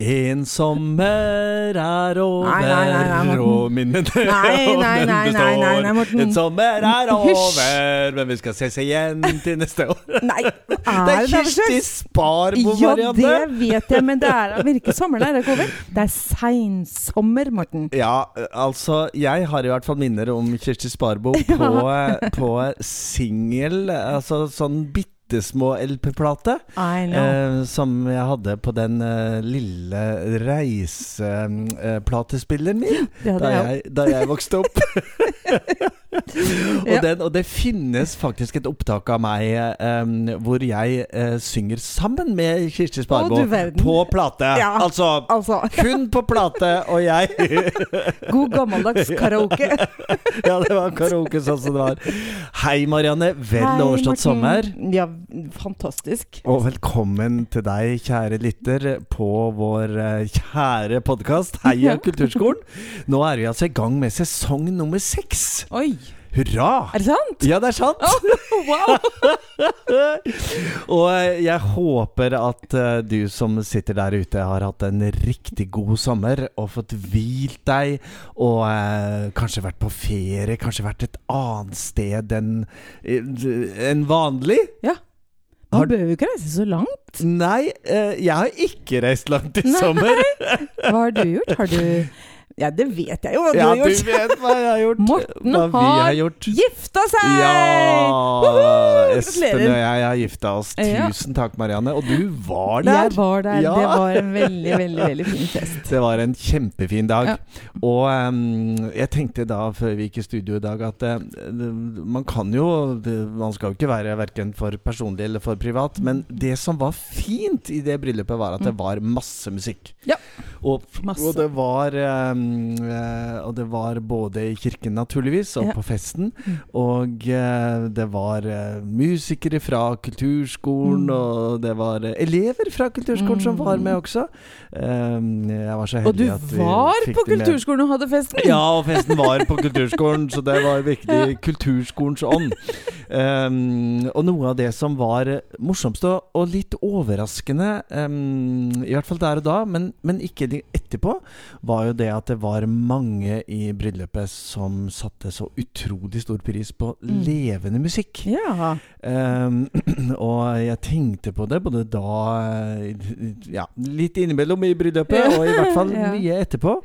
En sommer er over, Nei, nei, nei, nei, Morten. og minnene Nei, og nei, den nei, nei, nei, nei, Morten. En sommer er Hysj. over, men vi skal ses igjen til neste år. Nei, Det er er det det for Kirsti slags? Ja, Sparbo-variante. det vet jeg, men det er det virker sommeren er ikke over. Det er seinsommer, Morten. Ja, altså Jeg har i hvert fall minner om Kirsti Sparbo på, på singel, altså sånn bitte små LP-plate. I know. Eh, som jeg hadde på den eh, lille reiseplatespilleren min Det hadde da, jeg jeg, da jeg vokste opp. og, Ja. den, og det finnes faktisk et opptak av meg eh, hvor jeg eh, synger sammen med Kirsti Sparbo Å, du verden. på plate. Ja. Altså Altså, hun på plate og jeg god gammeldags karaoke. Ja, det var karaoke sånn som det var. Hei, Marianne. Vel Hei, Morten. overstått sommer. Ja, fantastisk. Og velkommen til deg, kjære lytter, på vår eh, kjære podkast Heia Ja. Kulturskolen. Nå er vi altså i gang med sesong nummer seks. Oi, Hurra! er det sant? Ja, det er sant! Wow! Og eh, jeg håper at eh, du som sitter der ute, har hatt en riktig god sommer og fått hvilt deg, og eh, kanskje vært på ferie, kanskje vært et annet sted enn eh, enn vanlig. Ja. Har- Man bør jo ikke reise så langt. Nei, eh, jeg har ikke reist langt i Nei. sommer. Hva har du gjort? Har du Ja, det vet jeg jo hva du Ja, har du gjort. vet hva jeg har gjort. Morten hva vi har har gjort. Gifta seg! Ja! Woho! Espen og Gratulerer. jeg har gifta oss. Ja. Tusen takk, Marianne. Og du var der. Jeg var der. Ja. Det var en veldig, veldig veldig fin fest. Det var en kjempefin dag. Ja. Og em, jeg tenkte da, før vi gikk i studio i dag, at eh, man kan jo Man skal jo ikke være verken for personlig eller for privat, men det som var fint i det bryllupet, var at det var masse musikk. Mm. Ja. Og, Masse. og det var em, eh, Og det var både i kirken, naturligvis, og Ja. Mm. på festen. Og eh, det var eh, musikere fra kulturskolen, Mm. og det var eh, elever fra kulturskolen som var med også. Ehm, jeg var så Og du heldig at vi var fikk på det med. kulturskolen og hadde festen? Ja, og festen var på kulturskolen, så det var virkelig kulturskolens ånd. Ehm, og noe av det som var eh, morsomst og og litt overraskende, ehm, i hvert fall der og da, men, men ikke de- etterpå, var jo det at det var mange i bryllupet som satte så utrolig stor pris på Mm. levende musikk. Ja. Ehm, og jeg tenkte på det både da eh, Ja, litt innimellom i bryllupet, Ja. og i hvert fall Ja. mye etterpå,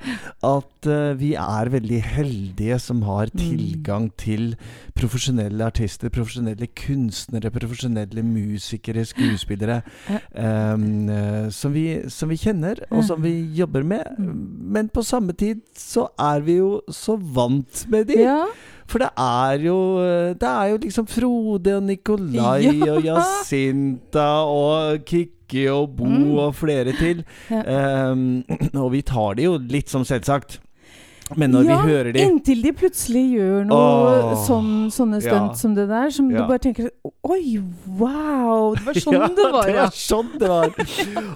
at eh, vi er veldig heldige som har Mm. tilgang til profesjonelle artister, profesjonelle kunstnere, profesjonelle musikere, skuespillere, Ja. ehm, eh, som, vi, som vi kjenner, Ja. og som vi jobber med. Mm. Men på samme tid så er vi jo så vant med de. ja. For det er jo Det er jo liksom Frode og Nikolai Ja. og Jacinta og Kikki og Bo Mm. og flere til. Um, og vi tar det jo litt som selvsagt. Men når Ja, vi hører de Inntil de plutselig gjør noe Åh. sånn, sånne stunt Ja. som det der, som Ja. du bare tenker Oi, wow! Det var sånn det var, det ja. var sånn det var.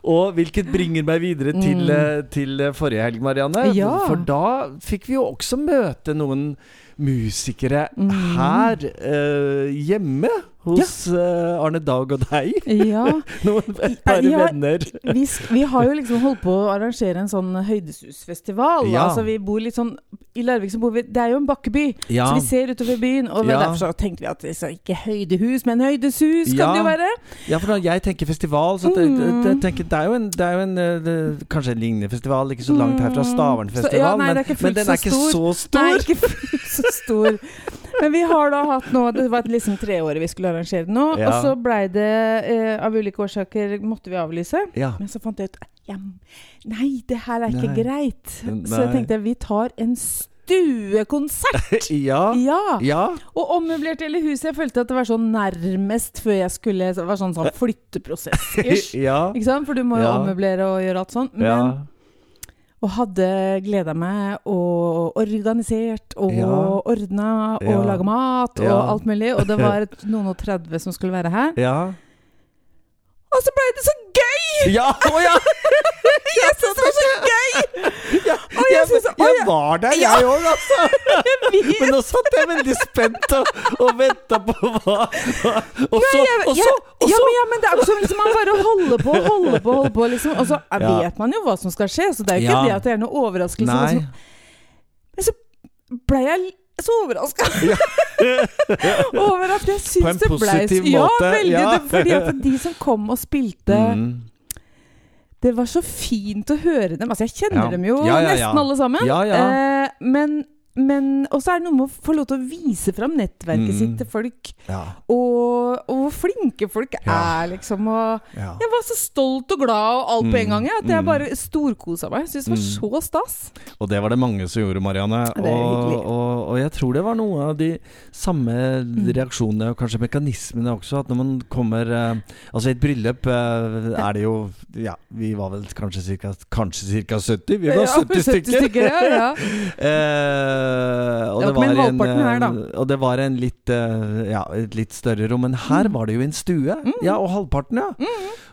Og hvilket bringer meg videre til, Mm. eh, til eh, forrige helg, Marianne. Ja. For da fikk vi jo også møte noen musikere Mm. her eh, hjemme hos eh, Arne Dag og deg. Ja. Noen et par Ja. venner. Vi, sk- vi har jo liksom holdt på å arrangere en sånn høydesusfestival. Ja. Altså, vi bor litt sånn I Larvik så bor vi Det er jo en bakkeby, så vi ser utover byen. Og det er Ja. derfor så tenkte vi at det er ikke høydehus, men høydesus kan Ja. det jo være. Ja, for når jeg tenker festival, så te- Mm. te- tenker det er jo en, det er jo en eh, det, Kanskje en lignende festival, ikke så langt herfra. Mm. Stavernfestival. Så- ja, nei, men, det er ikke men fullt den så er ikke så stor. Nei, ikke fullt så stor. Men vi har da hatt nå Det var liksom treåret vi skulle arrangere det nå. Ja. Og så blei det eh, Av ulike årsaker måtte vi avlyse. Ja. Men så fant jeg ut ja, Nei, det her er ikke Nei. greit. Så Nei. jeg tenkte vi tar en stuekonsert. ja. Ja! Ja. Og ommøblert hele huset. Jeg følte at det var sånn nærmest før jeg skulle Det var sånn, sånn flytteprosess-ish. Ja. Ikke sant? For du må jo Ja. ommøblere og gjøre alt sånn. Men Ja. og hadde gleda meg og organisert og Ja. ordna og Ja. laga mat og Ja. alt mulig. Og det var et- noen og 30 som skulle være her. Ja. Og så blei det så gøy! Ja! Å ja! Jeg syns det var så gøy! ja. Og jeg synes, ja, jeg var der, Ja. jeg òg, altså! Men nå satt jeg veldig spent og, og venta på hva hva- Og så, jeg- og så, jeg- og ja, så men, ja, men det er jo sånn liksom, man bare holder på og holder på, holder på liksom, og så eh, Ja. vet man jo hva som skal skje. Så det er jo Ja. ikke det at det er noe overraskelse. men Nei. så- Men så ble jeg l- så overraska over at jeg syns På en det ble positiv Ja, måte, veldig. ja. Det, fordi at de som kom og spilte Mm. Det var så fint å høre dem. Altså, jeg kjenner Ja. dem jo Ja, ja, ja. nesten alle sammen. Ja, ja. Eh, men men Og så er det noe med å få lov til å vise fram nettverket Mm. sitt til folk, Ja, og, og hvor flinke folk Ja. er, liksom. Og ja. jeg var så stolt og glad og alt på en Mm, gang, jeg, at jeg mm. bare storkosa meg. Jeg Syns det var så stas. Og det var det mange som gjorde, Marianne. er Og, hyggelig. Mm. og, og jeg tror det var noe av de samme reaksjonene og kanskje mekanismene også. At når man kommer eh, Altså, i et bryllup eh, er det jo Ja, vi var vel kanskje cirka, kanskje ca. 70? Vi var 70 stykker! ja, ja. Eh, og, Det det var ikke mer var enn en, halvparten her, da. eh, og det var en litt, eh, ja, et litt større rom. Men Mm. her var det jo en stue. Ja, og halvparten, ja.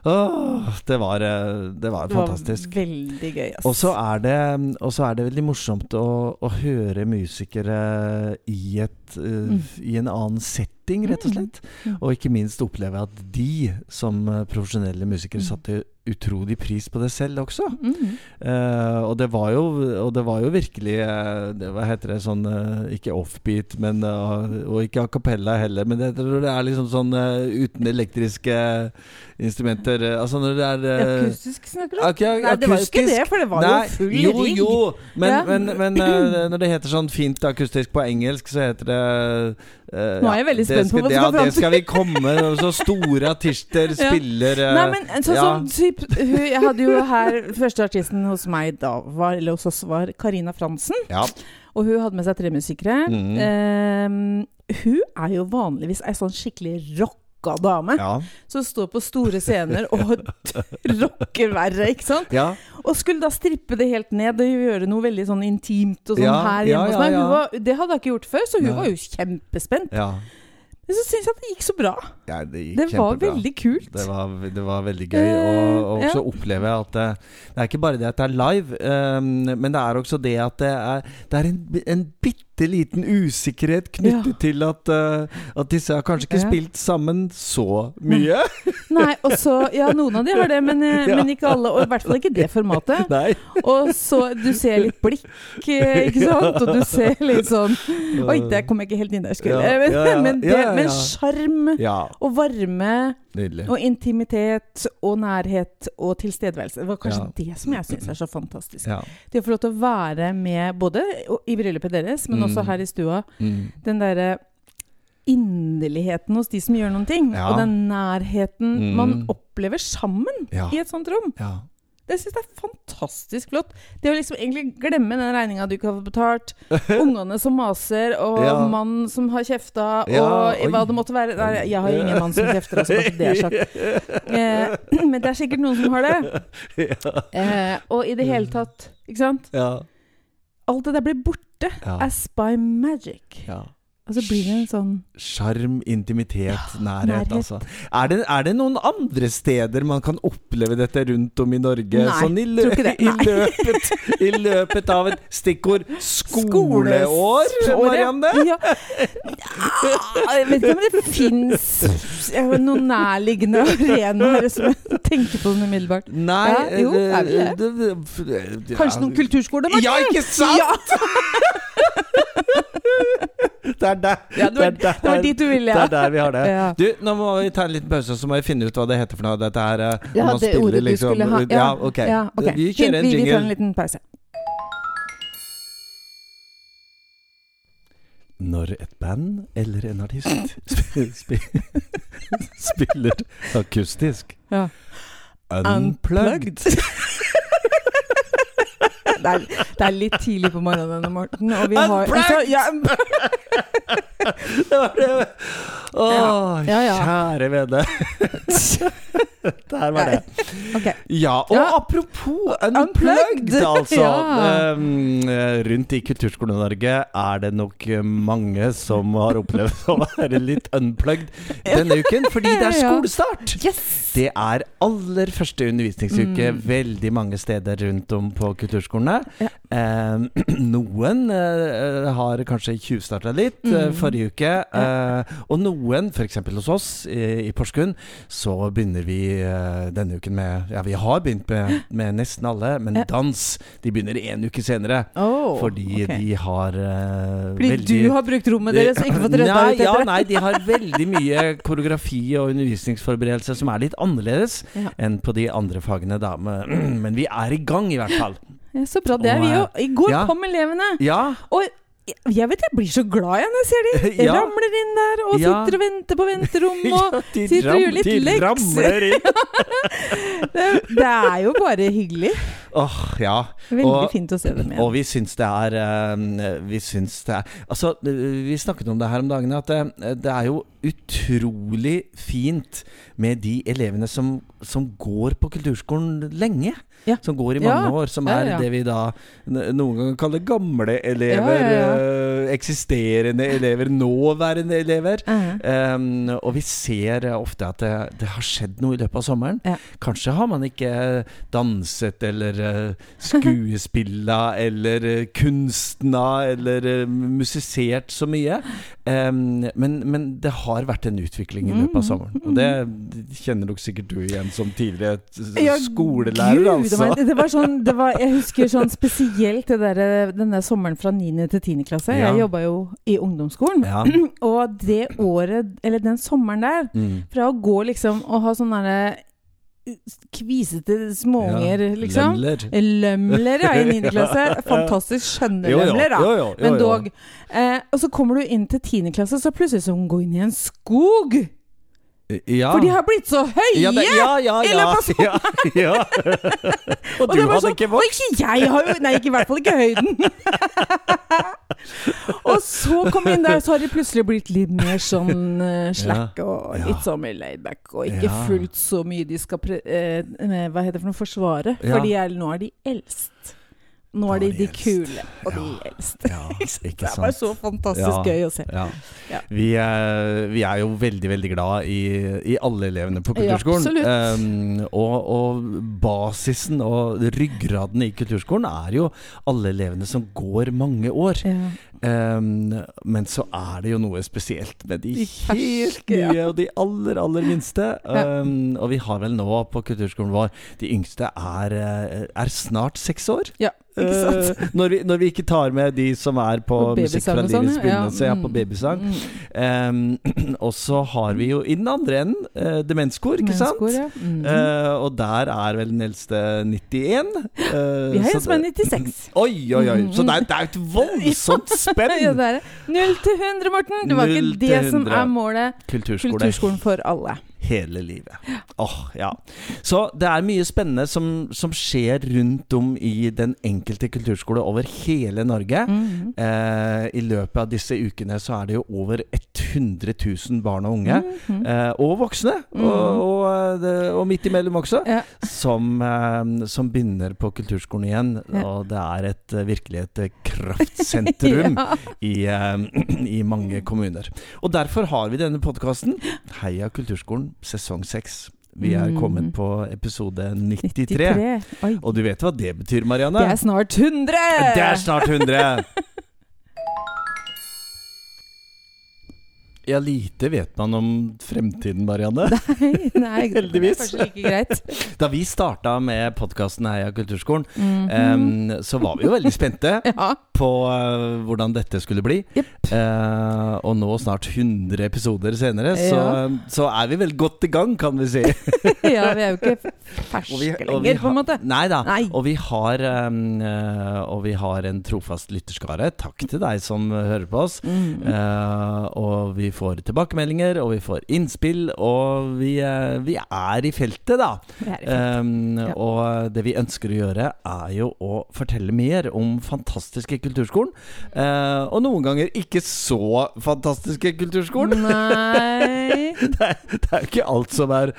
Åh, det, var, eh, det var Det var fantastisk. veldig gøy. ass. Og så er, det- og så er det veldig morsomt å, å høre musikere i, et, eh, i en annen setting, rett og slett. Mm. Og ikke minst oppleve at de, som eh, profesjonelle musikere, Mm. satte utrolig pris på det selv også. Mhm. Eh, og, det var jo, og det var jo virkelig eh, det, Hva heter det sånn eh, Ikke offbeat, men, eh, og ikke a cappella heller, men det, det er liksom sånn eh, uten elektriske instrumenter eh, Altså når det er eh, Akustisk snakker du? om? ak- ja, Nei, det var jo ikke akustisk. det, for det var Nei, jo full jo, rigg. Jo, men, Ja. men, men eh, når det heter sånn fint akustisk på engelsk, så heter det eh, Nå er ja, jeg det veldig spent på skal- hva du Ja, skal fram det skal vi komme Så store artister Ja. spiller eh, Nei, men sånn ja. som typ, hun, Jeg hadde jo her Første artisten hos meg da var, Eller hos oss var Karina Fransen ja. Og hun hadde med seg tre musikere Mm. Eh, Hun er jo vanligvis Ei sånn skikkelig rocka dame Ja. Som står på store scener Og rocker verre, ikke sant? ja. Og skulle da strippe det helt ned Og gjøre noe veldig sånn intimt Og sånn Ja, her ja, hjemme hos ja, meg ja. hun var, Det hadde jeg ikke gjort før Så hun Nei. var jo kjempespent ja. Men så synes jeg at det gikk så bra Ja, det gikk Det var kjempebra. veldig kult Det var, det var veldig gøy. Eh, Og, og ja. også oppleve at det, det er ikke bare det at det er live, eh, men det er også det at det er, det er en, en bitte liten usikkerhet knyttet Ja. til at, eh, at disse har kanskje ikke Ja. spilt sammen så mye. Nei, og så Ja, noen av de har det, men, eh, men ikke alle. Og i hvert fall ikke det formatet. Nei. Og så Du ser litt blikk, eh, ikke sant? Og du ser litt sånn Oi, der kom jeg ikke helt inn der jeg skulle. Ja, Men, ja, ja. men, Ja, ja, det, men ja. sjarm eh, Ja, og varme nydelig. og intimitet og nærhet og tilstedeværelse. Det var kanskje Ja. det som jeg syns er så fantastisk. Ja. Det å få lov til å være med både i bryllupet deres, men også Mm. her i stua. Mm. den derre inderligheten hos de som gjør noen ting. Ja. Og den nærheten Mm. man opplever sammen Ja. i et sånt rom. ja. Det syns jeg er fantastisk flott. Det å liksom egentlig glemme den regninga du ikke har betalt, ungene som maser, og Ja. mannen som har kjefta, Ja, og i hva oi. det måtte være. Nei, jeg har ingen mann som kjefter, altså, bare så det er sagt. Eh, men det er sikkert noen som har det. Eh, og i det hele tatt, ikke sant. Ja. Alt det der blir borte. Ja. As by magic. ja. Og så blir det en sånn Sjarm, intimitet, nærhet, nærhet. altså. Er det, er det noen andre steder man kan oppleve dette rundt om i Norge? Nei, sånn i, lø tror ikke det. i, Nei. løpet, i løpet av et stikkord skoleår, Marianne? Ja. Ja, Jeg vet ikke om det fins noen nærliggende arenaer som jeg tenker på sånn umiddelbart. Nei Ja, jo, eh, er vi det? det- det- Kanskje noen kulturskole, Martin? Ja, ikke sant? Ja, Det er der, ja, det, det var, er der- det var dit du ville, det ja. er der vi har det. Ja. Du, nå må vi ta en liten pause, og så må vi finne ut hva det heter for noe. Dette her eh, Ja, når man det spiller, ordet du liksom. skulle ha. Ja, ok. ja, ok. Vi Fint, kjører en Vi, vi tar jingle. en liten pause. Når et band eller en artist sp sp spiller akustisk Ja. Unplugged. Det er, det er litt tidlig på morgenen, Morten. Og vi har, altså, ja, Det var det. Å, Ja, ja. kjære vene. Der var det. Ok. Ja, og Ja. apropos Unplugged. unplugged, altså. Ja. Um, rundt i Kulturskolen-Norge er det nok mange som har opplevd å være litt unplugged denne uken, fordi det er Ja. skolestart. Yes! Det er aller første undervisningsuke veldig mange steder rundt om på kulturskolene. Mm. Ja. Eh, noen eh, har kanskje tjuvstarta litt eh, Mm. forrige uke. eh, og noen, f.eks. hos oss i, i Porsgrunn, så begynner vi eh, denne uken med Ja, vi har begynt med, med nesten alle, men Ja. dans de begynner én uke senere. Oh, Fordi ok. de har eh, Fordi veldig du har brukt rommet deres og ikke fått redda Nei, ut ja, etter det? nei, de har veldig mye koreografi og undervisningsforberedelse som er litt annerledes Ja. enn på de andre fagene, da. Men, men vi er i gang, i hvert fall. Ja, Så bra. Det er vi jo. I går Ja. kom elevene. Ja. Og jeg vet jeg blir så glad jeg når jeg ser de Ja. ramler inn der og Ja. sitter og venter på venterom og Ja, de sitter og gjør ram- litt de lekser. ramler inn. det, det er jo bare hyggelig. Åh, ja. Veldig Og- fint å se dem igjen. Og vi syns det er eh, Vi syns det er Altså, vi snakket om det her om dagen, at det, det er jo utrolig fint med de elevene som, som går på kulturskolen lenge. Ja. Som går i mange Ja. år. Som Ja, er ja. det vi da n- noen ganger kaller gamle elever. Ja, ja, eh, eksisterende elever. Nåværende elever. Eh, Um, og vi ser ofte at det, det har skjedd noe i løpet av sommeren. Ja. Kanskje har man ikke danset eller uh, skuespilla eller uh, kunstna eller uh, musisert så mye. Um, men, men det har vært en utvikling i Mm. løpet av sommeren. Og det kjenner nok sikkert du igjen som tidligere s- ja, skolelærer, Gud, altså. det var- Det var sånn, det var, jeg husker sånn spesielt det der, den der sommeren fra 9. til 10. klasse. Ja. Jeg jobba jo i ungdomsskolen. Ja. Og det året, eller den sommeren der, Mm. fra å gå liksom og ha sånne der, eh, kvisete småunger, Ja, liksom. Lemler. Lømler, ja, i 9. klasse. Fantastisk skjønne lømler, da. jo, jo, Men jo. dog. Eh, og så kommer du inn til 10. klasse, så plutselig så må hun gå inn i en skog! Ja. For de har blitt så høye! ja, det, ja, ja, I ja, løpet ja, ja. Og Og du det var hadde sånn, ikke Og ikke jeg har jo Nei, ikke, i hvert fall ikke høyden. og så kom vi inn der, så har de plutselig blitt litt mer sånn eh, slack og Ja. litt sånn mer laid back, og ikke Ja. fullt så mye de skal pre... eh, eh, hva heter det for noe? Forsvare. Ja. Fordi jeg, nå er de eldst. Nå er de de eldst. kule, og de Ja. eldste. Ja, Det ikke er bare sant. så Ja. fantastisk gøy å se. Ja. Ja. Vi, er, vi er jo veldig, veldig glad i, i alle elevene på Ja, kulturskolen. absolutt. Em, og, og basisen og ryggraden i kulturskolen er jo alle elevene som går mange år. Ja. Em, Ehm, men så er det jo noe spesielt med de, De helt ferske, ja. nye og de aller, aller minste. Ja. Em, og vi har vel nå på kulturskolen vår De yngste er, eh, er snart seks år. Ja, ikke sant? Eh, når, vi, når vi ikke tar med de som er på, På Musikk fra babysang og sånn, livets ja. begynnelse, ja, Mm. på babysang. Mm. Em, og så har vi jo i den andre enden eh, demenskor, ikke sant? Menneskor, ja. Mm. Eh, og der er vel den eldste 91. eh, vi har så en som er det- 96. Oi, oi, oi. Så det er, det er et voldsomt Ja, spenn! det er det. Null til 100, Morten! Det var Null ikke til det som 100. er målet. Kulturskole, Kulturskolen for alle. hele livet. Åh, ja. Så det er mye spennende som, som skjer rundt om i den enkelte kulturskole over hele Norge. Mhm. Eh, I løpet av disse ukene så er det jo over 100 000 barn og unge. Mhm. Eh, og voksne, og, og, eh, det- og midt imellom også, Mm. Ja. som, eh, som begynner på kulturskolen igjen. Ja. Og det er et, eh, virkelig et eh, kraftsentrum Ja. i, eh, i mange kommuner. Og derfor har vi denne podkasten, Heia kulturskolen, sesong seks. Vi er Mm. kommet på episode 93. 93. Oi. Og du vet hva det betyr, Marianne? Det er snart 100! Det er snart 100! Ja, lite vet man om fremtiden, Marianne. Nei, nei, Heldigvis. Det er kanskje like greit. Da vi starta med podkasten Heia kulturskolen, Mhm. em, så var vi jo veldig spente ja. på eh, hvordan dette skulle bli. Jepp. Eh, og nå, snart 100 episoder senere, så, så er vi vel godt i gang, kan vi si. ja, vi er jo ikke ferske Og vi- og vi lenger, på en måte. Nei da. Nei. Og, vi har, em, eh, og vi har en trofast lytterskare. Takk til deg som eh, hører på oss. Mhm. Eh, og vi får tilbakemeldinger, og vi får innspill, og vi, eh, vi er i feltet, da. Vi er i fred. Um, Ja. Og det vi ønsker å gjøre, er jo å fortelle mer om fantastiske kulturskolen. Eh, og noen ganger ikke så fantastiske Mm. kulturskolen. Nei Det er, det er jo ikke alt som er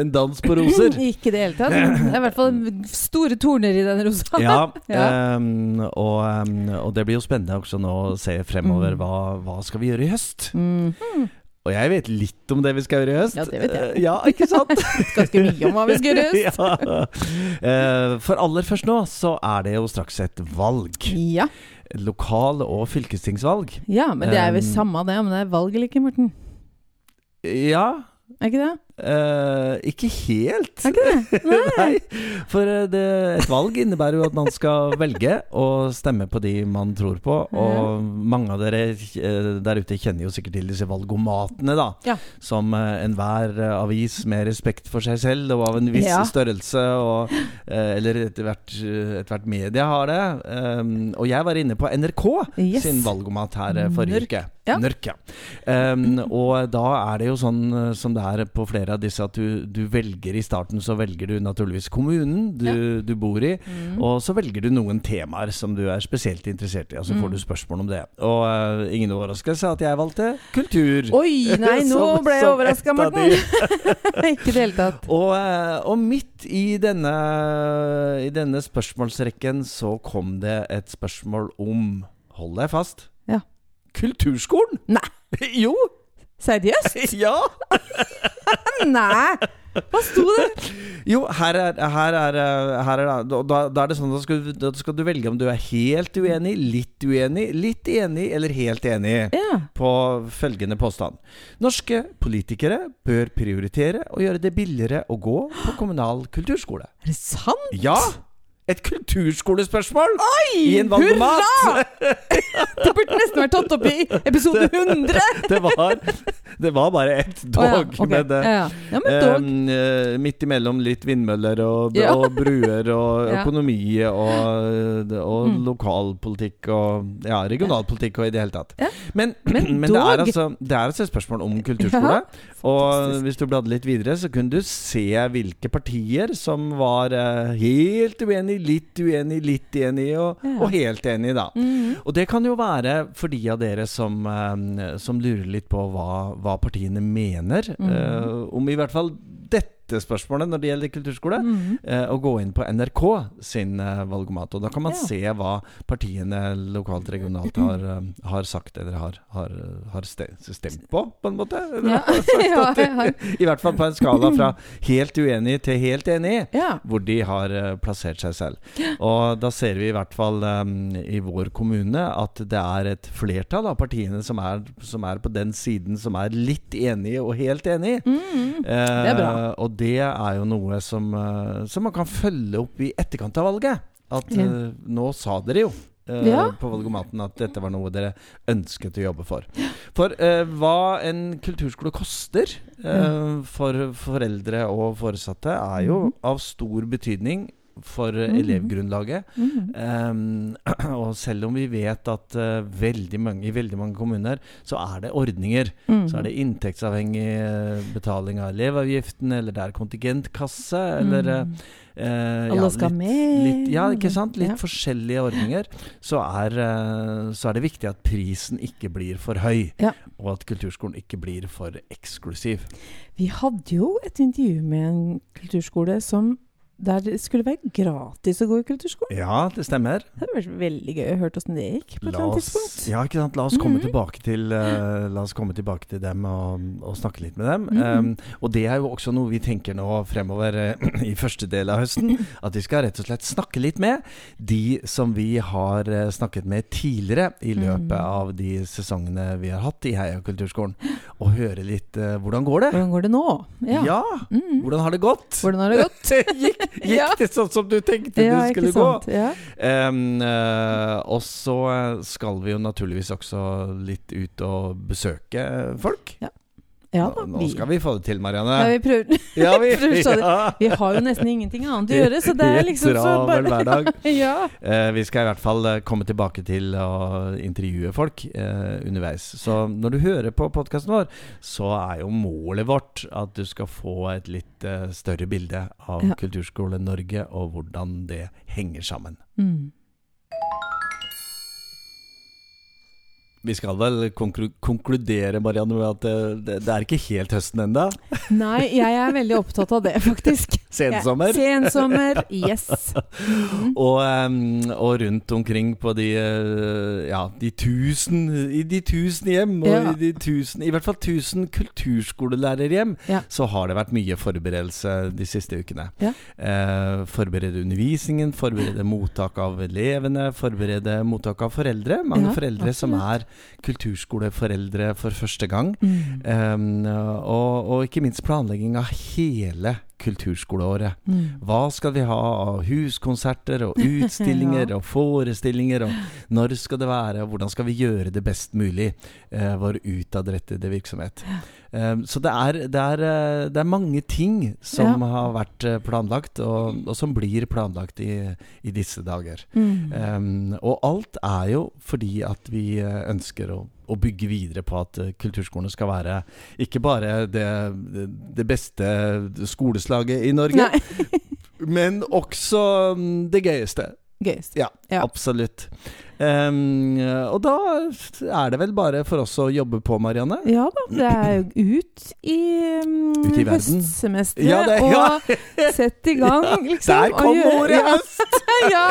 en dans på roser. Ikke i det hele tatt. Det er i hvert fall store torner i den rosa. Ja, Ja. um, og, um, og det blir jo spennende også nå å se fremover. Mm. Hva, hva skal vi gjøre i høst? Mm. Og jeg vet litt om det vi skal gjøre i høst. Ja, det vet jeg. Eh, Ja, ikke sant? Ganske mye om hva vi skal gjøre. ja. Eh, For aller først nå så er det jo straks et valg. Ja. lokal- og fylkestingsvalg. ja, men det er vel Um, samme det, om det er valg eller ikke, Morten. Ja Er ikke det? eh, Ikke helt. Er ikke det? Nei. Nei, for eh, det, et valg innebærer jo at man skal velge og stemme på de man tror på. Og mange av dere eh, der ute kjenner jo sikkert til disse valgomatene, da. Ja. Som eh, enhver eh, avis med respekt for seg selv og av en viss Ja. størrelse, og, eh, eller etter hvert, eh, etter hvert media har det. Um, og jeg var inne på NRK Yes. sin valgomat her eh, forrige Nørk. uke. Ja. Nørk, ja. Um, og da er det jo sånn eh, som det er på flere av disse, at du, du velger i starten så velger du naturligvis kommunen du, du bor i, Mm. og så velger du noen temaer som du er spesielt interessert i, og Mm. så får du spørsmål om det. Og eh, ingen overraskelse at jeg valgte kultur. Oi, nei, nå Som- ble jeg som overraska, et av Morten. ikke i det hele tatt. Og, eh, og midt i denne, i denne spørsmålsrekken så kom det et spørsmål om Hold deg fast. Ja. Kulturskolen? Nei. Jo! Seriøst? Ja! Nei! Hva sto det? Jo, her er, her er, her er da, da, da er det sånn at skal, du- da skal du velge om du er helt uenig, litt uenig, litt enig eller helt enig Ja. på følgende påstand. Norske politikere bør prioritere å gjøre det billigere å gå på kommunal kulturskole. Er det sant? Ja! Et kulturskolespørsmål i en valgomat! Hurra! Det burde nesten vært tatt opp i episode 100. Det var, det var bare ett dog, Å ja, ok. men det ja, ja. ja, men dog. Um, eh, midt imellom litt vindmøller og, Ja. og bruer og Ja. økonomi og, eh, og Mm. lokalpolitikk og ja, regionalpolitikk og i det hele tatt. Ja. Men, men, Men det, er dog. altså, det er altså et spørsmål om kulturskole. Og hvis du bladde litt videre, så kunne du se hvilke partier som var eh, helt uenig, litt uenig, litt enig og, Ja. og helt enig, da. Mhm. Og det kan jo være for de av dere som, eh, som lurer litt på hva, hva partiene mener Mm. eh, om i hvert fall dette spørsmålet når det gjelder kulturskole. Mhm. eh, å gå inn på NRK sin eh, valgomat. Og da kan man Ja. se hva partiene lokalt regionalt har, eh, har sagt eller har, har, har ste- stemt på, på en måte. Ja. Eller har sagt Ja, at de- ja. I hvert fall på en skala fra helt uenig til helt enig Ja. hvor de har eh, plassert seg selv. Og da ser vi i hvert fall em, i vår kommune at det er et flertall av partiene som er, som er på den siden som er litt enige og helt enige. Mhm. Eh, er bra. og det er jo noe som, eh, som man kan følge opp i etterkant av valget. At Ja. eh, nå sa dere jo eh, Ja. på valgomaten at dette var noe dere ønsket å jobbe for. For eh, hva en kulturskole koster Mm. eh, for foreldre og foresatte, er jo Mhm. av stor betydning for eh, Mhm. elevgrunnlaget. Mhm. Ehm, og selv om vi vet at eh, veldig mange, i veldig mange kommuner så er det ordninger Mhm. så er det inntektsavhengig eh, betaling av elevavgiften, eller det er kontingentkasse, eller eh, Mhm. eh, Alle skal litt, med. Litt, ja, ikke sant? Litt Ja. forskjellige ordninger. Så er, eh, så er det viktig at prisen ikke blir for høy, Ja. og at kulturskolen ikke blir for eksklusiv. Vi hadde jo et intervju med en kulturskole som der det skulle være gratis å gå i kulturskolen. Ja, det stemmer. Det hadde vært veldig gøy å høre hvordan det gikk. på et La eller annet oss, tidspunkt. ja, ikke sant? La, oss komme Mhm. tilbake til, eh, la oss komme tilbake til dem og, og snakke litt med dem. Mhm. Em, og det er jo også noe vi tenker nå fremover eh, i første del av høsten. Mm. At vi skal rett og slett snakke litt med de som vi har eh, snakket med tidligere i løpet Mhm. av de sesongene vi har hatt i Heia kulturskolen. Og høre litt eh, hvordan går det? Hvordan går det nå? Ja. Mhm. hvordan har det gått? Hvordan har det gått? gikk gikk Ja. det sånn som du tenkte Ja, det skulle ikke gå? sant. Ja. Em, eh, og så skal vi jo naturligvis også litt ut og besøke folk. Ja. Ja da. Nå, nå skal vi få det til, Marianne. ja, vi prøver. Ja, vi, prøver stadig. ja. Vi har jo nesten ingenting annet å gjøre, så det er liksom så Travel bare hverdag. Ja. Eh, vi skal i hvert fall eh, komme tilbake til å intervjue folk eh, underveis. Så når du hører på podkasten vår, så er jo målet vårt at du skal få et litt eh, større bilde av Ja. Kulturskole-Norge og hvordan det henger sammen. Mm. Vi skal vel konklu konkludere, Marianne, med at eh, det, det er ikke helt høsten ennå. Nei, jeg er veldig opptatt av det, faktisk. Sensommer. Ja, Sensommer, yes. Mhm. Og, em, og rundt omkring på de eh, Ja, de tusen I de tusen hjem, og Ja. i de tusen I hvert fall tusen kulturskolelærerhjem, Ja. så har det vært mye forberedelse de siste ukene. Ja. Eh, forberede undervisningen, forberede mottak av elevene, forberede mottak av foreldre. Mange Ja, foreldre som absolutt. er kulturskoleforeldre for første gang. Mm. Em, og, og ikke minst planlegging av hele kulturskoleåret. Mm. Hva skal vi ha av huskonserter og utstillinger Ja. og forestillinger, og når skal det være, og hvordan skal vi gjøre det best mulig, eh, vår utadrettede virksomhet. Eh, så det er, det, er, eh, det er mange ting som har vært eh, planlagt, og, og som blir planlagt i, i disse dager. Mm. Em, Ehm, og alt er jo fordi at vi eh, ønsker å, å bygge videre på at eh, kulturskolene skal være ikke bare det, det beste skoleslaget i Norge, Nei. men også mm, det gøyeste. Gøyest. Ja, Ja. absolutt. Em, og da er det vel bare for oss å jobbe på, Marianne. Ja da, det er jo ut i, um, Ut i verden. høstsemesteret Ja, det- ja. og sett i gang, liksom. Der og kom gjøre- ordet Ja. høst! ja.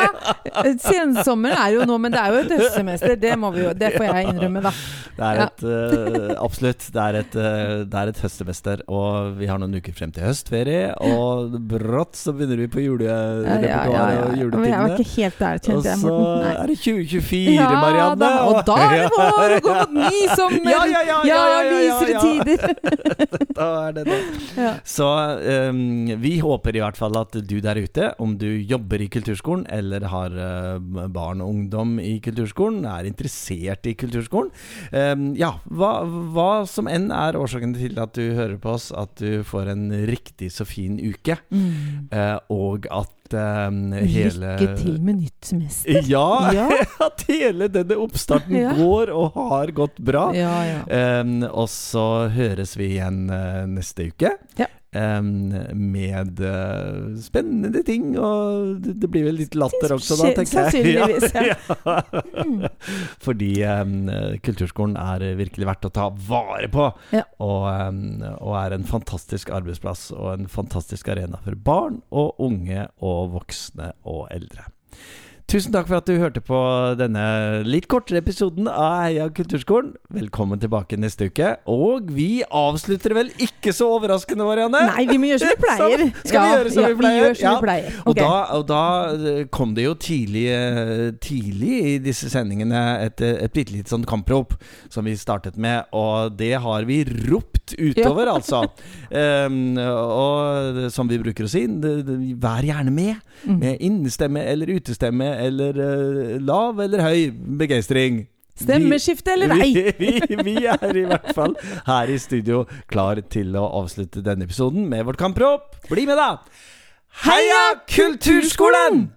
Sensommeren er jo nå, men det er jo et høstsemester. Det, må vi jo, det får jeg innrømme, da. Det er Ja. et, eh, absolutt. Det er et, eh, det er et høstsemester, og vi har noen uker frem til høstferie. Og brått så begynner vi på Ja, julerepertoaret ja, og ja, ja. Men jeg var juletidene. ikke helt der, Og kjente jeg, så Morten. Nei. er det 2024, Marianne. Da, og da er det vår og går mot ny sommer! Ja, ja, ja, ja, ja, ja, ja. lysere tider! Da er det det. Ja. Så eh, vi håper i hvert fall at du der ute, om du jobber i kulturskolen eller har eh, barn og ungdom i kulturskolen, er interessert i kulturskolen. Eh, ja, hva, hva som enn er årsaken til at du hører på oss, at du får en riktig så fin uke, Mm. eh, og at eh, hele Lykke til med nytt semester. Ja, Ja. at hele denne oppstarten Ja. går og har gått bra. Ja, ja. Um, og så høres vi igjen eh, neste uke. Ja. Um, med eh, spennende ting, og det, det blir vel litt latter også, da, tenker jeg. Sannsynligvis, ja. Mm. Fordi em, eh, kulturskolen er virkelig verdt å ta vare på, Ja. og, em, og er en fantastisk arbeidsplass og en fantastisk arena for barn og unge og voksne og eldre. Tusen takk for at du hørte på denne litt kortere episoden av Heia kulturskolen. Velkommen tilbake neste uke. Og vi avslutter vel ikke så overraskende, Marianne? Nei, vi må gjøre som vi pleier. Skal vi gjøre som vi pleier? Ja, vi gjør som Ja. vi pleier. Og Ok. da, og da eh, kom det jo tidlig, eh, tidlig i disse sendingene et, eh, et bitte lite sånn kamprop som vi startet med, og det har vi ropt utover, altså. Em, og som vi bruker å si, det- det- vær gjerne med. Mm. Med innestemme eller utestemme eller eh, lav eller høy begeistring. Stemmeskifte eller nei? Vi, vi, vi er i hvert fall her i studio klar til å avslutte denne episoden med vårt kamprop. Bli med, da! Heia kulturskolen!